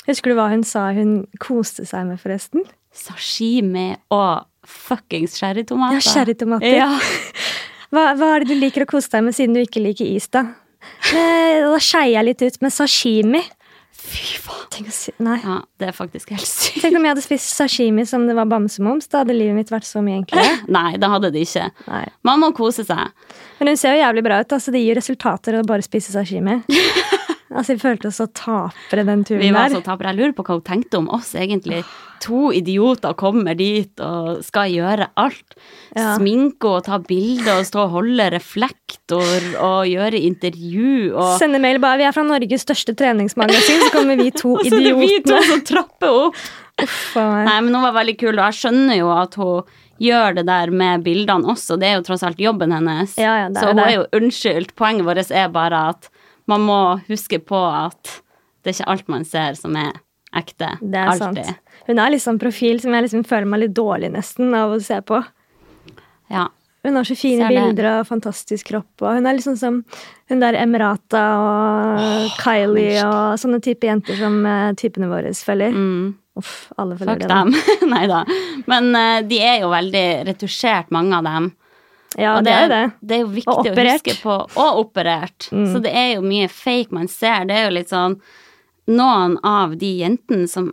[SPEAKER 2] Husker du hva hun sa hun koste seg med, forresten?
[SPEAKER 1] Sashimi og fuckings sherrytomater.
[SPEAKER 2] Ja, sherrytomater.
[SPEAKER 1] Ja.
[SPEAKER 2] Hva, hva er det du liker å kose deg med, siden du ikke liker is, da? Eh, Da skeier jeg litt ut med sashimi.
[SPEAKER 1] Fy faen.
[SPEAKER 2] Tenk å si Nei.
[SPEAKER 1] Ja, det er faktisk helt sykt.
[SPEAKER 2] Tenk om jeg hadde spist sashimi som det var bamsemums. Da hadde livet mitt vært så mye enklere.
[SPEAKER 1] Nei, det hadde de ikke.
[SPEAKER 2] Nei.
[SPEAKER 1] Man må kose seg.
[SPEAKER 2] Men hun ser jo jævlig bra ut. Altså, det gir jo resultater å bare spise sashimi. altså, Vi følte oss så tapere den turen
[SPEAKER 1] Vi var sånn,
[SPEAKER 2] der.
[SPEAKER 1] så tapere. Jeg lurer på hva hun tenkte om oss, egentlig. To idioter kommer dit og skal gjøre alt.
[SPEAKER 2] Ja.
[SPEAKER 1] Sminke og ta bilder og stå og holde reflektor og gjøre intervju og
[SPEAKER 2] Sende mail bare 'Vi er fra Norges største treningsmagasin', så kommer vi altså, to
[SPEAKER 1] Og så er det vi to
[SPEAKER 2] idiotene.
[SPEAKER 1] som trapper opp.
[SPEAKER 2] Uff a meg.
[SPEAKER 1] Nei, men hun var veldig kul, og jeg skjønner jo at hun gjør det der med bildene også. Det er jo tross alt jobben hennes.
[SPEAKER 2] Ja, ja, det er
[SPEAKER 1] så hun
[SPEAKER 2] det.
[SPEAKER 1] er jo unnskyldt. Poenget vårt er bare at man må huske på at det er ikke alt man ser som er ekte.
[SPEAKER 2] Det er
[SPEAKER 1] Alltid.
[SPEAKER 2] sant. Hun er liksom profil som jeg liksom føler meg litt dårlig nesten av å se på.
[SPEAKER 1] Ja.
[SPEAKER 2] Hun har så fine
[SPEAKER 1] Ser det.
[SPEAKER 2] bilder og fantastisk kropp. Og hun er liksom som hun der Emirata og Kylie og sånne type jenter som eh, typene våre følger. Uff, alle
[SPEAKER 1] Mm. Fuck
[SPEAKER 2] følger det. da.
[SPEAKER 1] dem. Nei da. Men eh, de er jo veldig retusjert, mange av dem.
[SPEAKER 2] Ja,
[SPEAKER 1] Og
[SPEAKER 2] det er jo det.
[SPEAKER 1] det er jo viktig
[SPEAKER 2] Og
[SPEAKER 1] å
[SPEAKER 2] operert. Mm.
[SPEAKER 1] huske på. Og operert. Så det er jo mye fake man ser. Det er jo litt sånn Noen av de jentene som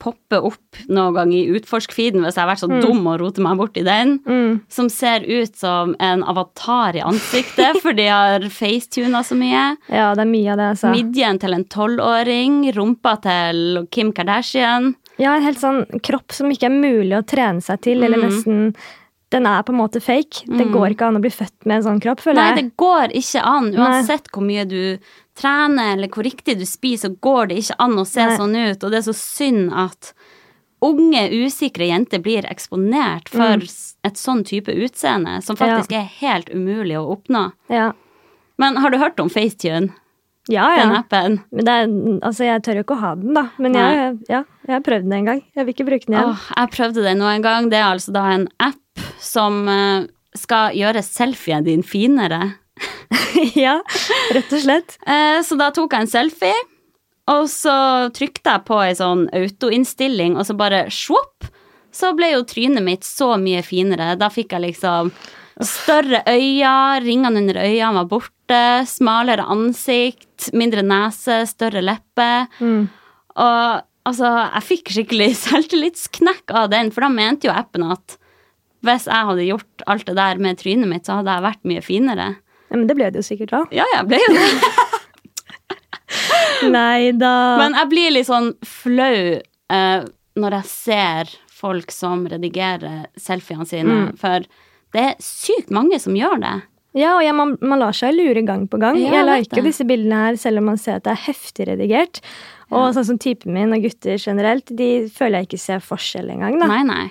[SPEAKER 1] popper opp noen gang i utforsk-feeden hvis jeg har vært så dum og roter meg bort i den,
[SPEAKER 2] Mm.
[SPEAKER 1] som ser ut som en avatar i ansiktet, for de har facetuna så mye.
[SPEAKER 2] Ja, det er mye av det, altså.
[SPEAKER 1] Midjen til en tolvåring, rumpa til Kim Kardashian.
[SPEAKER 2] Ja, en helt sånn kropp som ikke er mulig å trene seg til, eller nesten Den er på en måte fake. Det går ikke an å bli født med en sånn kropp, føler
[SPEAKER 1] Nei,
[SPEAKER 2] jeg.
[SPEAKER 1] det går ikke an.
[SPEAKER 2] Nei.
[SPEAKER 1] Uansett hvor mye du trener, eller hvor riktig du spiser, så går det ikke an å se
[SPEAKER 2] Nei.
[SPEAKER 1] sånn ut. Og det er så synd at unge, usikre jenter blir eksponert for
[SPEAKER 2] Mm.
[SPEAKER 1] s- et sånn type utseende, som faktisk er helt umulig å oppnå.
[SPEAKER 2] Ja,
[SPEAKER 1] Men har du hørt om FaceTune,
[SPEAKER 2] ja. ja.
[SPEAKER 1] den appen?
[SPEAKER 2] Men det er, altså, jeg tør jo ikke å ha den, da. Men jeg, ja, jeg har prøvd den en gang. Jeg vil ikke bruke den igjen.
[SPEAKER 1] Åh, jeg prøvde det nå en gang. Det er altså da en app som eh, skal gjøre selfien din finere.
[SPEAKER 2] ja, rett og slett.
[SPEAKER 1] Eh, Så da tok jeg en selfie, og så trykte jeg på ei sånn autoinnstilling, og så bare svopp, så ble jo trynet mitt så mye finere. Da fikk jeg liksom større øyne, ringene under øynene var borte, smalere ansikt, mindre nese, større lepper.
[SPEAKER 2] Mm.
[SPEAKER 1] Og altså, jeg fikk skikkelig selvtillitsknekk av den, for da mente jo appen at hvis jeg hadde gjort alt det der med trynet mitt, så hadde jeg vært mye finere.
[SPEAKER 2] Ja, men det ble det jo sikkert òg.
[SPEAKER 1] Ja, jeg ble jo det.
[SPEAKER 2] Nei da.
[SPEAKER 1] Men jeg blir litt sånn flau eh, når jeg ser folk som redigerer selfiene sine,
[SPEAKER 2] Mm.
[SPEAKER 1] for det er sykt mange som gjør det.
[SPEAKER 2] Ja, og ja, man, man lar seg lure gang på gang.
[SPEAKER 1] Ja, jeg
[SPEAKER 2] jeg
[SPEAKER 1] vet
[SPEAKER 2] liker jo
[SPEAKER 1] det.
[SPEAKER 2] disse bildene her, selv om man ser at det er heftig redigert. Og sånn som typen min og gutter generelt, de føler jeg ikke ser forskjell engang. da.
[SPEAKER 1] Nei, nei.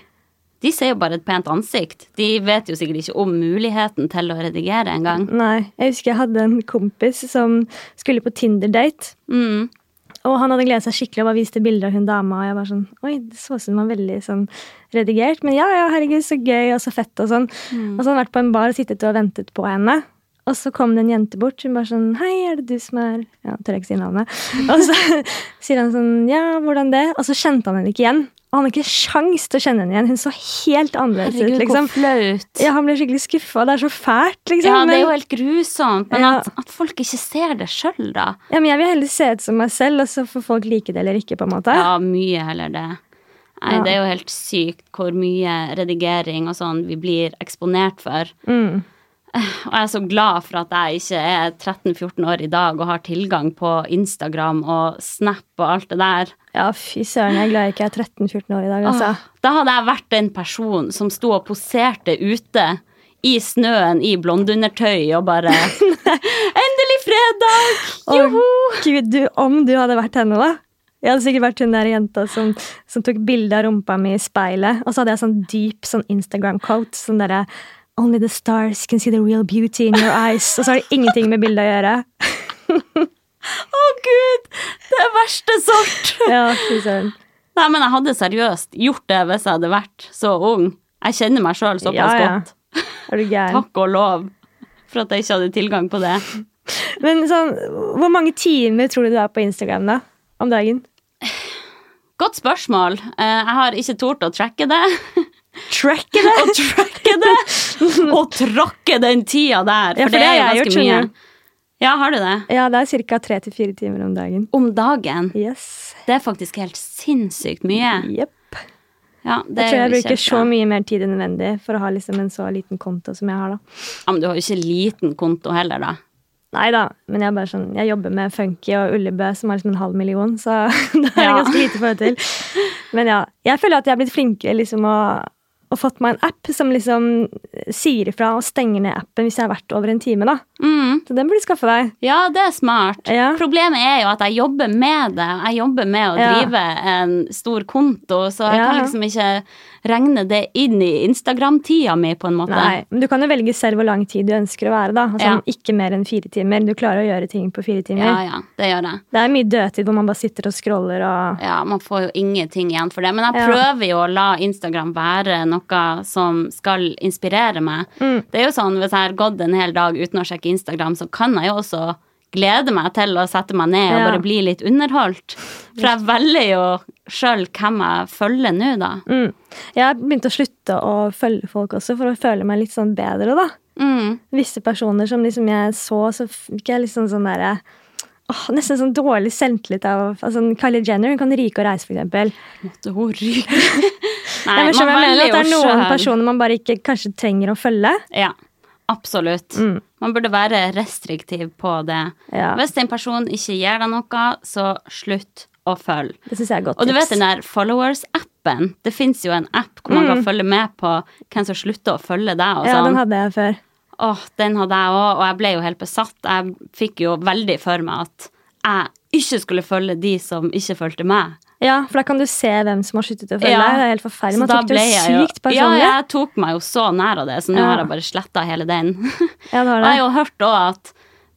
[SPEAKER 1] De ser jo bare et pent ansikt. De vet jo sikkert ikke om muligheten til å redigere engang.
[SPEAKER 2] Nei. Jeg husker jeg hadde en kompis som skulle på Tinder-date.
[SPEAKER 1] Mm.
[SPEAKER 2] Og han hadde gledet seg skikkelig og bare viste bilder av hun dama. Og jeg var sånn, oi, det så ut som hun var veldig sånn redigert. Men ja, ja, herregud, så gøy og så fett og sånn.
[SPEAKER 1] Mm.
[SPEAKER 2] Og så hadde han vært på en bar og sittet og ventet på henne. Og så kom det en jente bort. Hun bare sånn Hei, er det du som er Ja, tør jeg ikke si navnet. Og så sier han sånn Ja, hvordan det? Og så kjente han henne ikke igjen. Og han hadde ikke sjans til å kjenne henne igjen. Hun så helt annerledes ut,
[SPEAKER 1] Herregud,
[SPEAKER 2] liksom.
[SPEAKER 1] hvor flaut. Ja,
[SPEAKER 2] Ja, han ble skikkelig skuffa. Det er så fælt, liksom.
[SPEAKER 1] det er
[SPEAKER 2] men-
[SPEAKER 1] jo helt grusomt. Men
[SPEAKER 2] Ja.
[SPEAKER 1] at, at folk ikke ser det sjøl, da.
[SPEAKER 2] ja, men jeg vil heller se ut som meg selv, og så får folk like det eller ikke, på en måte.
[SPEAKER 1] Ja, mye heller det. Nei,
[SPEAKER 2] Ja.
[SPEAKER 1] det er jo helt sykt hvor mye redigering og sånn vi blir eksponert for.
[SPEAKER 2] Mm.
[SPEAKER 1] Og jeg er så glad for at jeg ikke er 13-14 år i dag og har tilgang på Instagram og Snap og alt det der.
[SPEAKER 2] Ja, fy søren, jeg er glad jeg ikke er 13-14 år i dag, altså.
[SPEAKER 1] Åh, Da hadde jeg vært den personen som sto og poserte ute i snøen i blondeundertøy og bare Endelig fredag! Joho!
[SPEAKER 2] Og Gud, du, om du hadde vært henne, da. Jeg hadde sikkert vært hun der jenta som, som tok bilde av rumpa mi i speilet, og så hadde jeg sånn dyp sånn Instagram-quote, sånn derre Only the stars can see the real beauty in your eyes. Og så har det ingenting med bildet å gjøre.
[SPEAKER 1] Å, gud! Det er verste sort!
[SPEAKER 2] Ja, fy søren.
[SPEAKER 1] Nei, men jeg hadde seriøst gjort det hvis jeg hadde vært så ung. Jeg kjenner meg sjøl såpass
[SPEAKER 2] Ja, ja.
[SPEAKER 1] godt.
[SPEAKER 2] Er du gæren?
[SPEAKER 1] Takk og lov for at jeg ikke hadde tilgang på det.
[SPEAKER 2] Men sånn, hvor mange timer tror du du er på Instagram da? Om dagen?
[SPEAKER 1] Godt spørsmål. Eh, Jeg har ikke tort å tracke det.
[SPEAKER 2] Tracke det!
[SPEAKER 1] Og tracke det! Og trakke den tida der, for,
[SPEAKER 2] Ja, for
[SPEAKER 1] det
[SPEAKER 2] det
[SPEAKER 1] er jo
[SPEAKER 2] har jeg
[SPEAKER 1] ganske mye.
[SPEAKER 2] gjort, skjønner
[SPEAKER 1] Ja, har du det?
[SPEAKER 2] Ja, det er ca. tre til fire timer om dagen.
[SPEAKER 1] Om dagen.
[SPEAKER 2] Yes.
[SPEAKER 1] Det er faktisk helt sinnssykt mye.
[SPEAKER 2] Jepp.
[SPEAKER 1] Ja, det
[SPEAKER 2] Jeg tror jeg
[SPEAKER 1] er jo ikke
[SPEAKER 2] bruker
[SPEAKER 1] helt
[SPEAKER 2] så
[SPEAKER 1] bra.
[SPEAKER 2] mye mer tid enn nødvendig for å ha liksom en så liten konto som jeg har. da.
[SPEAKER 1] Ja, men du har jo ikke liten konto heller, da.
[SPEAKER 2] Nei da, men jeg, er bare sånn, jeg jobber med Funky og Ullebø, som har liksom en halv million, så det er
[SPEAKER 1] Ja.
[SPEAKER 2] ganske lite forhold til. Men ja, jeg føler at jeg har blitt flinkere liksom å og fått meg en app som liksom sier ifra og stenger ned appen hvis jeg har vært over en time. da.
[SPEAKER 1] Mm.
[SPEAKER 2] Så den burde du skaffe deg.
[SPEAKER 1] Ja, det er smart.
[SPEAKER 2] Ja.
[SPEAKER 1] Problemet er jo at jeg jobber med det. Jeg jobber med å
[SPEAKER 2] Ja.
[SPEAKER 1] drive en stor konto, så jeg
[SPEAKER 2] Ja,
[SPEAKER 1] kan
[SPEAKER 2] ja.
[SPEAKER 1] liksom ikke regne det inn i Instagram-tida mi, på en måte.
[SPEAKER 2] Nei, men Du kan jo velge selv hvor lang tid du ønsker å være. da. Altså,
[SPEAKER 1] Ja.
[SPEAKER 2] Ikke mer enn fire timer. Du klarer å gjøre ting på fire timer.
[SPEAKER 1] Ja, ja, det gjør jeg.
[SPEAKER 2] Det er mye dødtid hvor man bare sitter og scroller og
[SPEAKER 1] Ja, Man får jo ingenting igjen for det. Men jeg
[SPEAKER 2] Ja.
[SPEAKER 1] prøver jo å la Instagram være noe som skal inspirere meg.
[SPEAKER 2] Mm.
[SPEAKER 1] Det er jo sånn, Hvis jeg har gått en hel dag uten å sjekke Instagram, så kan jeg jo også glede meg til å sette meg ned og
[SPEAKER 2] Ja.
[SPEAKER 1] bare bli litt underholdt. For jeg velger jo sjøl hvem jeg følger nå, da.
[SPEAKER 2] Mm. Jeg begynte å slutte å følge folk også for å føle meg litt sånn bedre, da.
[SPEAKER 1] Mm.
[SPEAKER 2] Visse personer som liksom jeg så, så fikk jeg liksom sånn derre åh, nesten sånn dårlig selvtillit av altså, Kylie Jenner hun kan ryke og reise, for eksempel.
[SPEAKER 1] Måtte hun ryke Nei,
[SPEAKER 2] jeg skjønner, jeg mener at det er
[SPEAKER 1] jo
[SPEAKER 2] noen
[SPEAKER 1] selv.
[SPEAKER 2] personer man bare ikke kanskje trenger å følge.
[SPEAKER 1] Ja, absolutt.
[SPEAKER 2] Mm.
[SPEAKER 1] Man burde være restriktiv på det.
[SPEAKER 2] Ja.
[SPEAKER 1] Hvis en person ikke gir deg noe, så slutt å følge.
[SPEAKER 2] Det syns jeg er godt
[SPEAKER 1] Og du vet den der followers-appen? Det fins jo en app hvor man kan følge med på hvem som slutter å følge deg. Og
[SPEAKER 2] Mm. ja,
[SPEAKER 1] sånn.
[SPEAKER 2] den hadde jeg før.
[SPEAKER 1] Åh, den hadde jeg òg, og jeg ble jo helt besatt. Jeg fikk jo veldig for meg at jeg ikke skulle følge de som ikke fulgte meg.
[SPEAKER 2] Ja, for da kan du se hvem som har sluttet å følge
[SPEAKER 1] Ja.
[SPEAKER 2] deg. Det er helt forferdelig. Man
[SPEAKER 1] Så da
[SPEAKER 2] tok det
[SPEAKER 1] ble
[SPEAKER 2] jo
[SPEAKER 1] jeg
[SPEAKER 2] sykt
[SPEAKER 1] Ja,
[SPEAKER 2] personlig.
[SPEAKER 1] jeg tok meg jo så nær av det, så nå
[SPEAKER 2] Ja.
[SPEAKER 1] har jeg bare sletta hele den.
[SPEAKER 2] Ja, det
[SPEAKER 1] jeg
[SPEAKER 2] har
[SPEAKER 1] har
[SPEAKER 2] det.
[SPEAKER 1] jo hørt òg at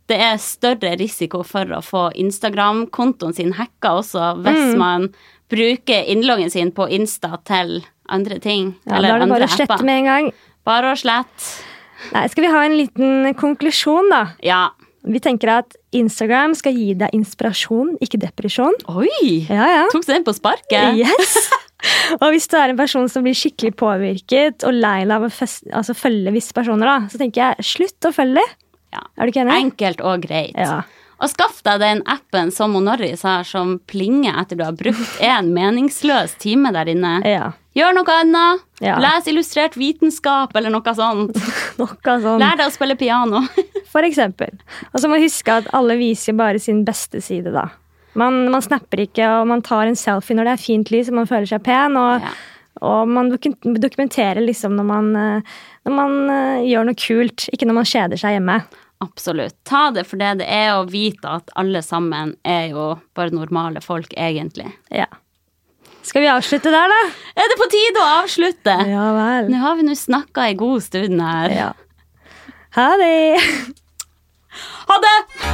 [SPEAKER 1] det er større risiko for å få Instagram-kontoen sin hacka også
[SPEAKER 2] Mm.
[SPEAKER 1] hvis man bruker innloggen sin på Insta til andre ting.
[SPEAKER 2] Ja, da
[SPEAKER 1] eller
[SPEAKER 2] er det
[SPEAKER 1] andre
[SPEAKER 2] bare å slette
[SPEAKER 1] apper.
[SPEAKER 2] med en gang.
[SPEAKER 1] Bare å slette.
[SPEAKER 2] Nei, skal vi ha en liten konklusjon, da?
[SPEAKER 1] Ja.
[SPEAKER 2] Vi tenker at Instagram skal gi deg inspirasjon, ikke depresjon.
[SPEAKER 1] Oi!
[SPEAKER 2] Ja, ja.
[SPEAKER 1] Tok du den på sparket?
[SPEAKER 2] Yes! og hvis du er en person som blir skikkelig påvirket og lei deg av å fest, altså, følge visse personer, da, så tenker jeg slutt å følge dem.
[SPEAKER 1] Ja.
[SPEAKER 2] Er du ikke enig?
[SPEAKER 1] Enkelt og greit.
[SPEAKER 2] Ja.
[SPEAKER 1] Og skaff deg den appen som hun Norris har, som plinger etter du har brukt en meningsløs time der inne.
[SPEAKER 2] Ja.
[SPEAKER 1] Gjør noe annet.
[SPEAKER 2] Ja.
[SPEAKER 1] Les illustrert vitenskap eller noe sånt.
[SPEAKER 2] Nok av sånn,
[SPEAKER 1] Lær deg å spille piano.
[SPEAKER 2] for eksempel. Og så må du huske at alle viser bare sin beste side, da. Man, man snapper ikke, og man tar en selfie når det er fint lys og man føler seg pen. Og,
[SPEAKER 1] Ja.
[SPEAKER 2] og man doku- dokumenterer liksom når man, eh, når man eh, gjør noe kult, ikke når man kjeder seg hjemme.
[SPEAKER 1] Absolutt. Ta det for det det er, og vite at alle sammen er jo bare normale folk, egentlig.
[SPEAKER 2] Ja. Skal vi avslutte der, da?
[SPEAKER 1] Er det på tide å avslutte?
[SPEAKER 2] Ja vel.
[SPEAKER 1] Nå har vi nå snakka ei god stund her.
[SPEAKER 2] Ja. Ha det!
[SPEAKER 1] Ha det!